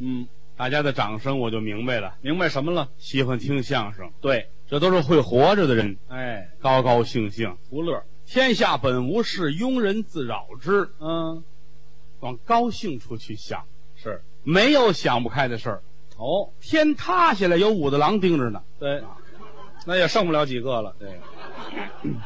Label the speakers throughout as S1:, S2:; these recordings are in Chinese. S1: 嗯，
S2: 大家的掌声我就明白了，
S1: 明白什么了？
S2: 喜欢听相声，
S1: 对，
S2: 这都是会活着的人，
S1: 哎，
S2: 高高兴兴。
S1: 图乐，
S2: 天下本无事，庸人自扰之。
S1: 嗯，
S2: 往高兴处去想，
S1: 是，
S2: 没有想不开的事儿。
S1: 哦，
S2: 天塌下来有武大郎盯着呢，
S1: 对，啊那也剩不了几个了，对，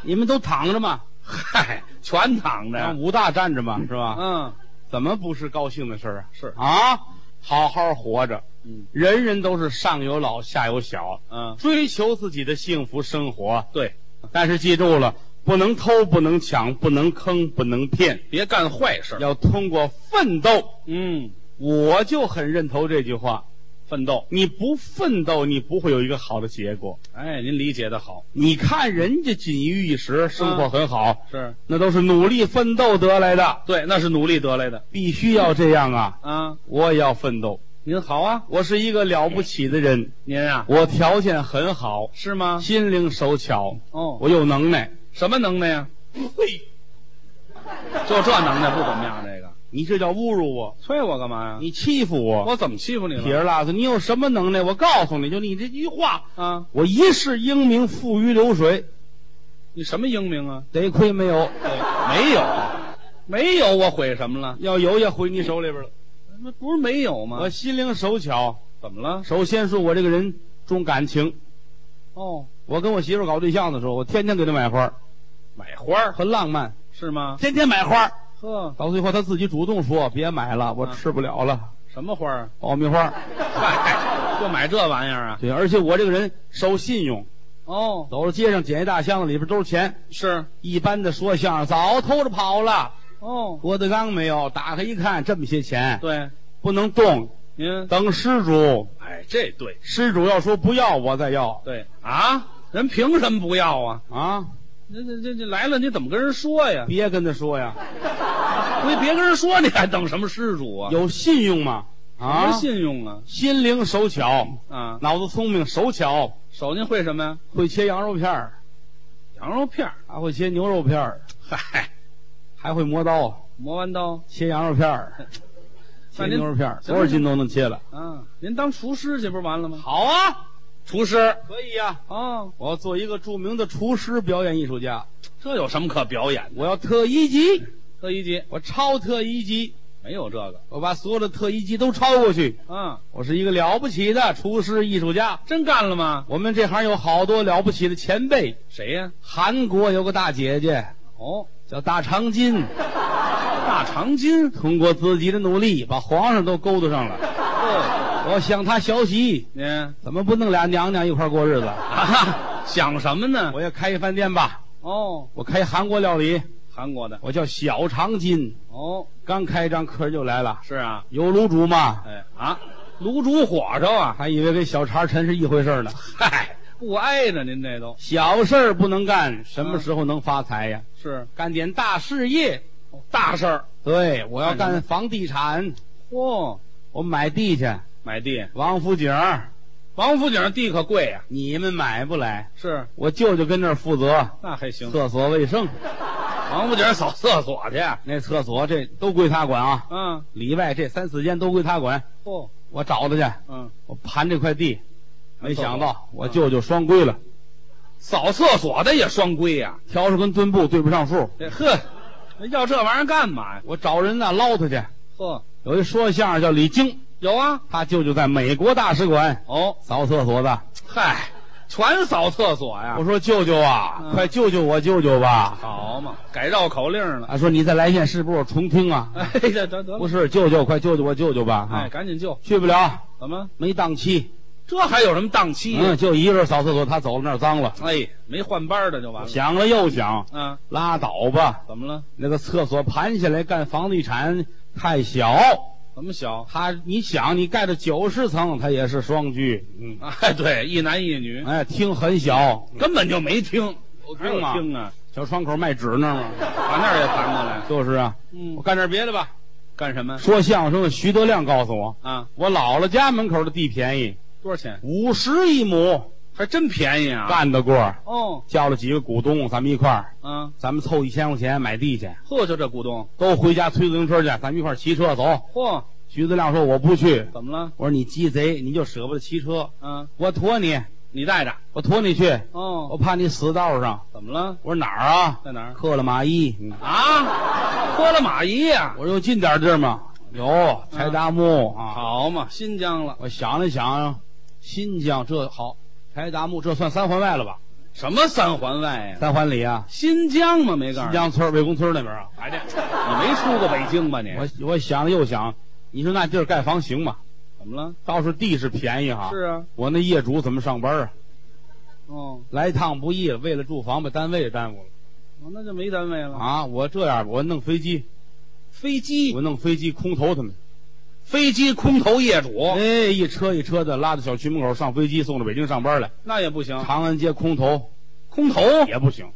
S2: 你们都躺着嘛，
S1: 嗨，全躺着
S2: 让
S1: 呀，
S2: 武大站着嘛，是吧？
S1: 嗯，
S2: 怎么不是高兴的事儿啊？
S1: 是，
S2: 啊，好好活着，
S1: 嗯
S2: 人人都是上有老下有小，
S1: 嗯，
S2: 追求自己的幸福生活。
S1: 对，
S2: 但是记住了，不能偷，不能抢，不能坑，不能骗，
S1: 别干坏事，
S2: 要通过奋斗。
S1: 嗯，
S2: 我就很认同这句话：
S1: 奋斗，
S2: 你不奋斗，你不会有一个好的结果。
S1: 哎，您理解的好，
S2: 你看人家锦衣玉食，生活很好，
S1: 是
S2: 那都是努力奋斗得来的，
S1: 对，那是努力得来的
S2: 必须要这样啊！
S1: 啊，
S2: 我也要奋斗。
S1: 您好啊，
S2: 我是一个了不起的人，
S1: 您啊，
S2: 我条件很好，
S1: 是吗？
S2: 心灵手巧，
S1: 哦，
S2: 我有能耐。
S1: 什么能耐呀？
S2: 嘿，
S1: 就这能耐不怎么样，这个
S2: 你这叫侮辱我，
S1: 催我干嘛呀？
S2: 你欺负我，
S1: 我怎么欺负你
S2: 铁
S1: 了？
S2: 儿拉子，你有什么能耐？我告诉你就你这句话，
S1: 啊，
S2: 我一世英名付于流水，
S1: 你什么英明啊？
S2: 得亏没有，
S1: 没有，没有，我毁什么了？
S2: 要有也毁你手里边了。
S1: 那不是没有吗？
S2: 我心灵手巧，
S1: 怎么了？
S2: 首先说我这个人重感情。
S1: 哦，
S2: 我跟我媳妇搞对象的时候，我天天给她买花儿，
S1: 买花儿
S2: 很浪漫，
S1: 是吗？
S2: 天天买花儿。
S1: 呵，
S2: 到最后她自己主动说别买了，我吃不了了，
S1: 什么花儿？啊
S2: 爆米花儿。
S1: 嗨，就买这玩意儿啊？
S2: 对，而且我这个人守信用，
S1: 哦，
S2: 走到街上捡一大箱子，里边都是钱。
S1: 是，
S2: 一般的说相声早偷着跑了。
S1: 哦，
S2: 郭德纲没有，打开一看，这么些钱，
S1: 对，
S2: 不能动，
S1: 您，
S2: 等施主，
S1: 哎，这对
S2: 施主要说不要，我再要
S1: 对啊，人凭什么不要啊？
S2: 啊！
S1: 这这这这来了，你怎么跟人说呀？
S2: 别跟他说呀，
S1: 你别跟人说，你还等什么施主啊？
S2: 有信用嘛
S1: 什
S2: 啊
S1: 么！信用啊？
S2: 心灵手巧，
S1: 啊，
S2: 脑子聪明，手巧，
S1: 手您会什么呀？
S2: 会切羊肉片儿，
S1: 羊肉片儿，
S2: 还会切牛肉片儿，
S1: 嗨，
S2: 还会磨刀，
S1: 磨完刀
S2: 切羊肉片儿，切
S1: 那您
S2: 牛肉片儿，
S1: 行
S2: 多少斤都能切了。
S1: 啊，您当厨师去不是完了吗？
S2: 好啊，
S1: 厨师
S2: 可以呀、
S1: 哦，
S2: 我要做一个著名的厨师表演艺术家，
S1: 这有什么可表演的？
S2: 我要特一级，
S1: 特一级
S2: 我超特一级，
S1: 没有这个
S2: 我把所有的特一级都超过去，
S1: 啊，
S2: 我是一个了不起的厨师艺术家。
S1: 真干了吗？
S2: 我们这行有好多了不起的前辈，
S1: 谁呀、
S2: 韩国有个大姐姐
S1: 哦，
S2: 叫大长今，
S1: 大长今，
S2: 通过自己的努力把皇上都勾搭上了。
S1: 哦，
S2: 我向她学习，
S1: 您
S2: 怎么不弄俩娘娘一块儿过日子？
S1: 啊哈，想什么呢？
S2: 我也开一饭店吧，
S1: 哦，
S2: 我开韩国料理，
S1: 韩国的
S2: 我叫小长今。
S1: 哦，
S2: 刚开张，客人就来了，
S1: 是啊，
S2: 有卤煮吗？
S1: 哎啊，卤煮火烧啊，
S2: 还以为跟小茶陈是一回事儿呢。
S1: 嗨，不挨着您这都
S2: 小事儿不能干，什么时候能发财呀？
S1: 是
S2: 啊
S1: 哦
S2: 干点大事业。
S1: 大事儿。
S2: 对，我要
S1: 干什么
S2: 干房地产，
S1: 嚯，
S2: 我买地去。
S1: 买地，
S2: 王府井儿，
S1: 王府井地可贵呀、
S2: 你们买不来，
S1: 是，
S2: 我舅舅跟那儿负责
S1: 那还行。
S2: 厕所卫生，
S1: 王府井扫厕所去，
S2: 那厕所这都归他管啊，
S1: 嗯，
S2: 里外这三四间都归他管。
S1: 嚯，
S2: 我找他去，
S1: 嗯，
S2: 我盘这块地，没想到我
S1: 就
S2: 舅舅双规了，
S1: 扫厕所的也双规呀、
S2: 笤帚跟墩布对不上数，
S1: 这呵，那要这玩意儿干嘛呀？
S2: 我找人呐捞他去。
S1: 呵，
S2: 有一说相声叫李菁，
S1: 有啊。
S2: 他舅舅在美国大使馆
S1: 哦，
S2: 扫厕所的。
S1: 嗨，全扫厕所呀
S2: 我。说舅舅啊，
S1: 嗯
S2: 快救救我舅舅吧！
S1: 好嘛，改绕口令了。
S2: 他说你再来一遍是不是我重听啊？
S1: 哎，这得得
S2: 不
S1: 了，
S2: 是，舅舅快救救我舅舅吧！
S1: 哎，
S2: 啊，
S1: 赶紧救！
S2: 去不了。
S1: 怎么？
S2: 没档期，
S1: 这还有什么档期呀？
S2: 嗯，就一个人扫厕所，他走了那儿脏了，
S1: 哎，没换班的就完了。
S2: 想了又想，
S1: 啊，
S2: 拉倒吧，
S1: 怎么了？
S2: 那个厕所盘下来干房地产太小，
S1: 怎么小？
S2: 他你想你盖到九十层，它也是双居，嗯，
S1: 哎，对，一男一女，
S2: 哎，厅很小，
S1: 根本就没听，
S2: 有
S1: 哪嗯有
S2: 厅吗？
S1: 听啊？
S2: 小窗口卖纸那儿吗？
S1: 把那儿也盘过来。
S2: 就是啊，我
S1: 嗯，
S2: 干点别的吧。
S1: 干什么
S2: 说相声的徐德亮告诉我，
S1: 啊？
S2: 我姥姥家门口的地便宜，
S1: 多少钱？
S2: 五十一亩，
S1: 还真便宜啊！
S2: 干得过。
S1: 哦，
S2: 叫了几个股东，咱们一块儿，
S1: 啊，
S2: 咱们凑一千块钱买地去。
S1: 嚯，就这股东，
S2: 都回家推自行车去，咱们一块儿骑车走。
S1: 嚯，
S2: 徐子亮说我不去，
S1: 怎么了？
S2: 我说你鸡贼，你就舍不得骑车，
S1: 嗯，
S2: 我驮你，
S1: 你带着。
S2: 我驮你去，我
S1: 哦，
S2: 怕你死道上。
S1: 怎么了？
S2: 我说哪儿啊？
S1: 在哪儿？
S2: 克了马伊。嗯
S1: 啊，脱了马衣呀、
S2: 我说有近点地儿吗？有，柴达木啊。
S1: 好嘛，新疆了，
S2: 我想了想，新疆这好，柴达木这算三环外了吧？
S1: 什么三环外呀、
S2: 三环里啊，
S1: 新疆嘛，没告诉
S2: 新
S1: 你。
S2: 疆村儿魏公村儿那边啊。
S1: 哎，这你没出过北京吧你？
S2: 我我想了又想，你说那地儿盖房行吗？
S1: 怎么了？
S2: 倒是地是便宜哈。
S1: 是。啊，
S2: 我那业主怎么上班啊？
S1: 哦，
S2: 来一趟不易，为了住房把单位也耽误了
S1: 哦那就没单位了。
S2: 啊！我这样吧，我弄飞机，
S1: 飞机，
S2: 我弄飞机空投他们，
S1: 飞机空投业主
S2: 哎，一车一车的拉到小区门口上飞机，送到北京上班来。
S1: 那也不行，
S2: 长安街空投
S1: 空投。
S2: 也不行，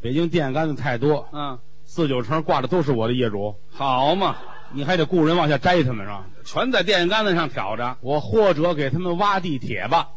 S2: 北京电线杆子太多，
S1: 嗯，
S2: 四九城挂的都是我的业主，
S1: 好嘛，
S2: 你还得雇人往下摘他们是吧？
S1: 全在电线杆子上挑着。
S2: 我或者给他们挖地铁吧，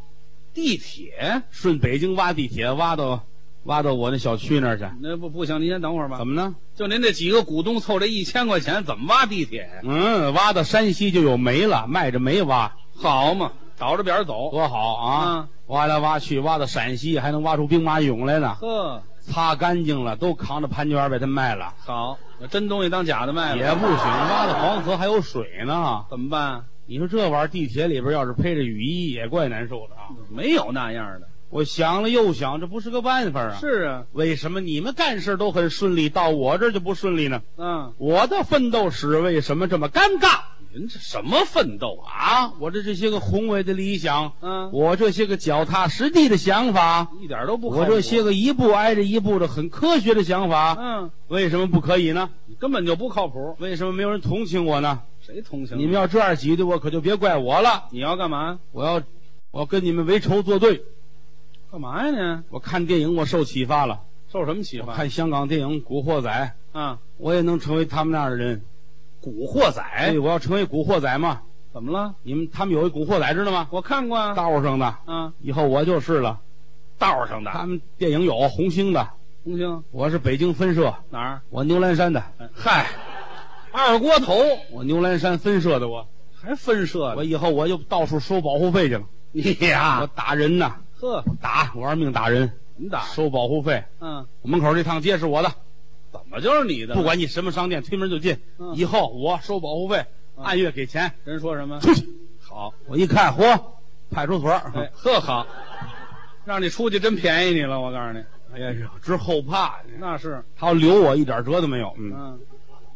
S1: 地铁，
S2: 顺北京挖地铁，挖到挖到我那小区那儿去。
S1: 那不不行，您先等会儿吧
S2: 怎。么呢？
S1: 就您这几个股东凑这一千块钱，怎么挖地铁呀？
S2: 嗯，挖到山西就有煤了，卖着煤挖，
S1: 好嘛，倒着扁儿走。
S2: 多好啊！
S1: 啊
S2: 挖来挖去，挖到陕西还能挖出兵马俑来呢，
S1: 呵，
S2: 擦干净了，都扛着潘家园被他卖了，
S1: 好，把真东西当假的卖了，
S2: 也不行。挖到黄河还有水呢，
S1: 怎么办？
S2: 你说这玩意儿，地铁里边要是配着雨衣，也怪难受的啊！
S1: 没有那样的。
S2: 我想了又想，这不是个办法啊！
S1: 是啊，
S2: 为什么你们干事都很顺利，到我这儿就不顺利呢？
S1: 嗯，
S2: 我的奋斗史为什么这么尴尬
S1: 您这什么奋斗啊？
S2: 啊？我的这些个宏伟的理想，
S1: 嗯，
S2: 我这些个脚踏实地的想法，
S1: 一点都不靠谱
S2: 我这些，个一步挨着一步的很科学的想法，
S1: 嗯，
S2: 为什么不可以呢？
S1: 你根本就不靠谱，
S2: 为什么没有人同情我呢？
S1: 谁同情
S2: 你们要这样挤兑我，可就别怪我了。
S1: 你要干嘛？
S2: 我要，我要跟你们为仇作对。
S1: 干嘛呀你？
S2: 我看电影，我受启发了。
S1: 受什么启
S2: 我
S1: 发？
S2: 看香港电影《古惑仔》，
S1: 啊，
S2: 我也能成为他们那样的人。
S1: 古惑
S2: 哎，
S1: 仔
S2: 我要成为古惑仔嘛！
S1: 怎么了？
S2: 你们他们有一古惑仔，知道吗？
S1: 我看过啊，
S2: 道上的，
S1: 啊，
S2: 以后我就是了。
S1: 道上的
S2: 他们电影有红星的，
S1: 红星
S2: 我是北京分社，
S1: 哪儿？
S2: 我牛栏山的，
S1: 哎嗨，二锅头
S2: 我牛栏山分社的我，
S1: 还分社
S2: 我
S1: 呢？
S2: 以后我就到处收保护费去了。
S1: 你呀、
S2: 我打人呐，
S1: 呵，
S2: 打，我玩命打人，
S1: 你打
S2: 收保护费。
S1: 嗯，
S2: 我门口这趟街是我的，
S1: 怎么就是你的？
S2: 不管你什么商店，推门就进。
S1: 嗯
S2: 以后我收保护费，
S1: 嗯
S2: 按月给钱。
S1: 人 说什么？
S2: 出去！
S1: 好，
S2: 我一看，嚯，派出所。
S1: 哎，呵好，让你出去真便宜你了，我告诉你，
S2: 哎呀，直后怕，
S1: 那是，
S2: 他要留我一点辙都没有。嗯，
S1: 嗯，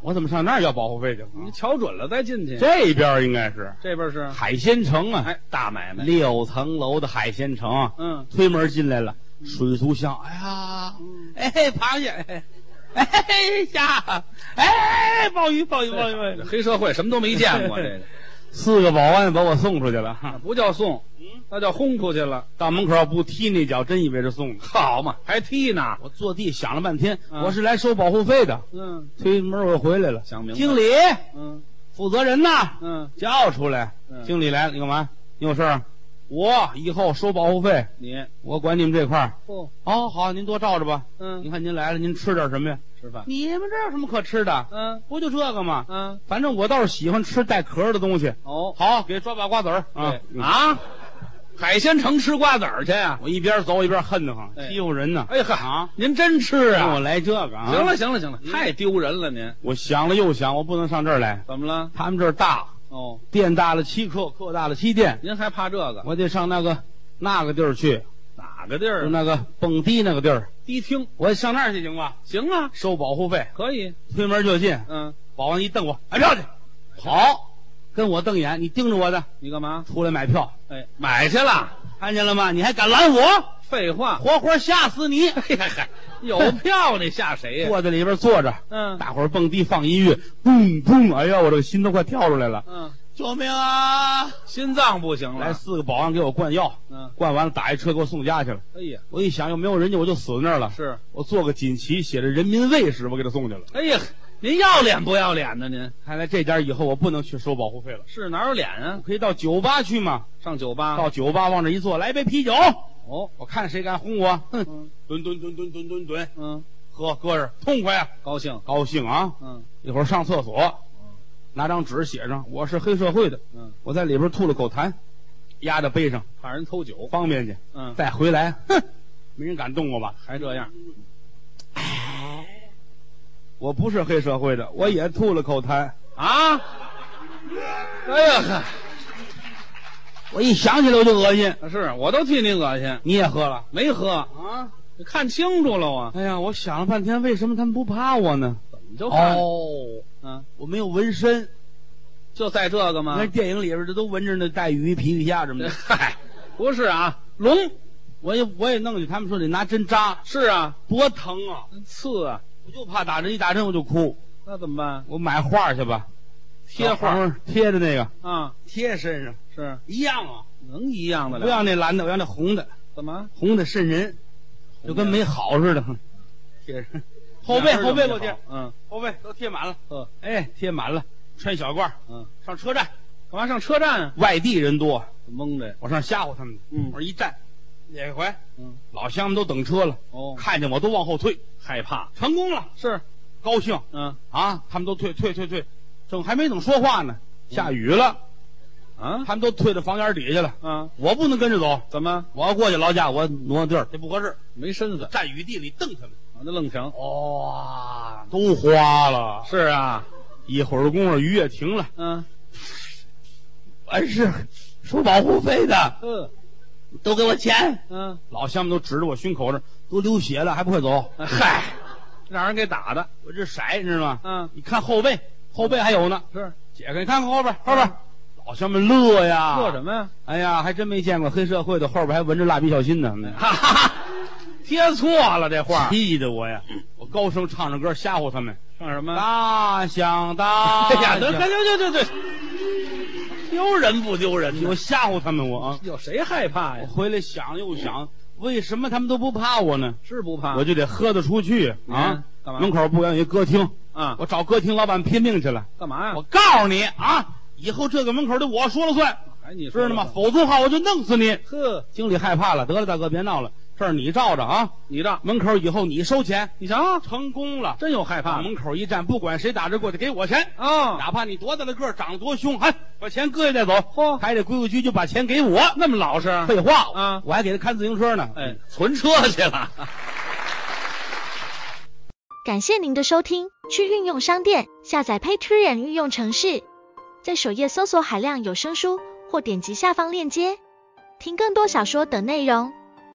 S2: 我怎么上那儿要保护费去？嗯
S1: 你瞧准了再进去。
S2: 这边儿应该是
S1: 这边是，
S2: 海鲜城啊，
S1: 哎，大买卖，
S2: 六层楼的海鲜城啊，
S1: 嗯，
S2: 推门进来了，水族箱，哎呀，哎，螃蟹，哎，哎呀，哎，鲍鱼，鲍鱼，鲍鱼，鲍
S1: 啊这
S2: 鱼，
S1: 黑社会什么都没见 过，这个
S2: 四个保安把我送出去了，
S1: 那
S2: 哈
S1: 不叫送，那叫轰出去了，
S2: 到门口不踢你一脚，真以为是送的。
S1: 好嘛，还踢呢，
S2: 我坐地想了半天，
S1: 嗯
S2: 我是来收保护费的。
S1: 嗯
S2: 推门我回来了，
S1: 想明白
S2: 经理，
S1: 嗯
S2: 负责人呢？
S1: 嗯，
S2: 叫出来。
S1: 嗯
S2: 经理来了，你干嘛？你有事儿？啊我以后收保护费，
S1: 你
S2: 我管你们这块儿。
S1: 不，
S2: 哦，好，您多照着吧。您
S1: 嗯，
S2: 看您来了，您吃点什么呀？
S1: 吃饭，
S2: 你们这有什么可吃的？
S1: 嗯
S2: 不就这个吗？
S1: 嗯，
S2: 反正我倒是喜欢吃带壳的东西。
S1: 哦，
S2: 好，给抓把瓜子儿啊
S1: 对！啊，海鲜城吃瓜子儿去呀？
S2: 我一边走一边恨得慌，
S1: 哎
S2: 欺负人呢。
S1: 哎哈，
S2: 啊，
S1: 您真吃
S2: 让
S1: 啊嗯
S2: 我？来这个啊！
S1: 行了，行了行了，太丢人了您，
S2: 我想了又想，我不能上这儿来。
S1: 怎么了？
S2: 他们这儿大，
S1: 哦，
S2: 店大了七克，克大了七店，
S1: 您还怕这个？
S2: 我得上那个那个地儿去，
S1: 哪个地
S2: 就
S1: 儿？
S2: 那个蹦迪那个地儿，
S1: 迪厅。
S2: 我上那儿去行吗？
S1: 行啊，
S2: 收保护费，
S1: 可以。
S2: 推门就进，
S1: 嗯，
S2: 保安一瞪我，买票去。好，跟我瞪眼，你盯着我的，
S1: 你干嘛？
S2: 出来买票，
S1: 哎，买去了。
S2: 看见了吗？你还敢拦我，
S1: 废 话。
S2: 活活吓死你！
S1: 哎呀嗨，有票你吓谁呀？
S2: 坐在里边坐着，
S1: 嗯
S2: 大伙儿蹦迪放音乐，嘣嘣，哎呀，我这个心都快跳出来了！
S1: 嗯，
S2: 救命啊！
S1: 心脏不行
S2: 来
S1: 了。
S2: 四个保安给我灌药，
S1: 嗯，
S2: 灌完了打一车给我送家去了。
S1: 哎呀，
S2: 我一想又没有人家，我就死在那儿了。
S1: 是。
S2: 我做个锦旗，写着“人民卫士”，我给他送去了。
S1: 哎呀，您要脸不要脸呢？您
S2: 看来这家以后我不能去收保护费了，
S1: 是哪有脸啊
S2: 我？可以到酒吧去嘛？
S1: 上酒吧。
S2: 到酒吧往这一坐，来杯啤酒，
S1: 哦，
S2: 我看谁敢轰我！哼，
S1: 嗯
S2: 吨吨吨吨吨吨吨，
S1: 嗯，
S2: 喝，搁这儿痛快啊，
S1: 高兴。
S2: 高兴啊！
S1: 嗯，
S2: 一会儿上厕所，拿张纸写上我是黑社会的，
S1: 嗯，
S2: 我在里边吐了口痰，压在背上
S1: 怕人偷酒，
S2: 方便去，
S1: 嗯，
S2: 再回来，哼，没人敢动我吧？
S1: 还这样，
S2: 我不是黑社会的，我也吐了口痰。
S1: 啊？哎呀呵，
S2: 我一想起来我就恶心。
S1: 啊是我都替你恶心，
S2: 你也喝了
S1: 没喝，
S2: 啊？
S1: 看清楚了啊，
S2: 哎呀，我想了半天，为什么他们不怕我呢？哦
S1: 怎么就看？嗯，
S2: 我没有纹身，
S1: 就在这个
S2: 你
S1: 吗
S2: 看？电影里边这都纹着那带鱼、皮皮虾什 么的。
S1: 嗨，不是啊，龙
S2: 我也我也弄去，他们说得拿针扎，
S1: 是啊，
S2: 多疼啊！
S1: 刺啊，
S2: 我就怕打针，一打针我就哭。
S1: 那怎么办？
S2: 我买画去吧，
S1: 贴画
S2: 小黄贴的那个，
S1: 啊，
S2: 贴身上
S1: 是
S2: 一样啊。
S1: 能一样的
S2: 不
S1: 了？
S2: 要那蓝的，我要那红的，
S1: 怎么？
S2: 红的瘆人，就跟没好似的。哼贴上后背后背给我贴，，
S1: 嗯，
S2: 后背都贴满了。
S1: 嗯，
S2: 哎，贴满了，穿小褂，
S1: 嗯，
S2: 上车站，
S1: 干嘛上车站啊？
S2: 外地人多，
S1: 蒙着呀，
S2: 我上吓唬他们去。
S1: 嗯
S2: 我说一站，哪回？
S1: 嗯，
S2: 老乡们都等车了，
S1: 哦，
S2: 看见我都往后退，
S1: 害怕
S2: 成功了，
S1: 是，
S2: 高兴
S1: 嗯
S2: 啊！他们都退退退退，正还没等说话呢，下雨了，
S1: 啊
S2: 他们都退到房檐底下去了。
S1: 啊，
S2: 我不能跟着走，
S1: 怎么
S2: 我要过去劳驾，我挪地儿，这不合适。
S1: 没身份？
S2: 站雨地里瞪他们，
S1: 我那愣停。
S2: 哇，都花了。
S1: 是啊，
S2: 一会儿功夫雨也停了，
S1: 嗯
S2: 完事收保护费的，
S1: 嗯
S2: 都给我钱。
S1: 嗯，
S2: 老乡们都指着我胸口这儿，都流血了，还不快走？嗨，
S1: 让人给打的。
S2: 我这色你知道吗？
S1: 嗯，
S2: 你看后背，后背还有呢。
S1: 是
S2: 姐夫，你看看后边，后边，老乡们嗯乐呀，
S1: 乐啊什么呀？
S2: 哎呀，还真没见过黑社会的，后边还纹着蜡笔小新呢，
S1: 哈哈，贴错了这画，
S2: 气得我呀！我高声唱着歌吓唬他们。
S1: 唱什么？
S2: 啊大响大
S1: 嗯哎呀，
S2: 响，
S1: 得得得得得得，丢人不丢人呢
S2: 我？吓唬他们，我啊，
S1: 有谁害怕
S2: 我
S1: 呀？
S2: 回来想又想，为什么他们都不怕我呢？
S1: 是不怕？
S2: 我就得喝得出去
S1: 你看
S2: 啊！
S1: 干嘛
S2: 门口不远有一歌厅，
S1: 啊，
S2: 我找歌厅老板拼命去了。
S1: 干嘛呀？
S2: 我告诉你啊，以后这个门口的我说了算，
S1: 哎，你
S2: 知
S1: 说
S2: 道吗？
S1: 吧？
S2: 否则的话我就弄死你。
S1: 呵，
S2: 经理害怕了，得了，大哥别闹了，事儿你照着啊。
S1: 你让
S2: 门口以后你收钱，
S1: 你瞧，
S2: 成功了。
S1: 真有害怕
S2: 往门口一站，不管谁打着过去，给我钱，
S1: 啊！
S2: 哪怕你多大的个儿，长得多凶，哎，把钱搁下再走，
S1: 嚯，
S2: 还得规规矩矩把钱给我。
S1: 那么老实，
S2: 废话
S1: 啊
S2: 我还给他看自行车呢。
S1: 哎，存车去了。
S3: 感谢您的收听，去运用商店下载 Patreon 运用城市，在首页搜索海量有声书，或点击下方链接听更多小说等内容。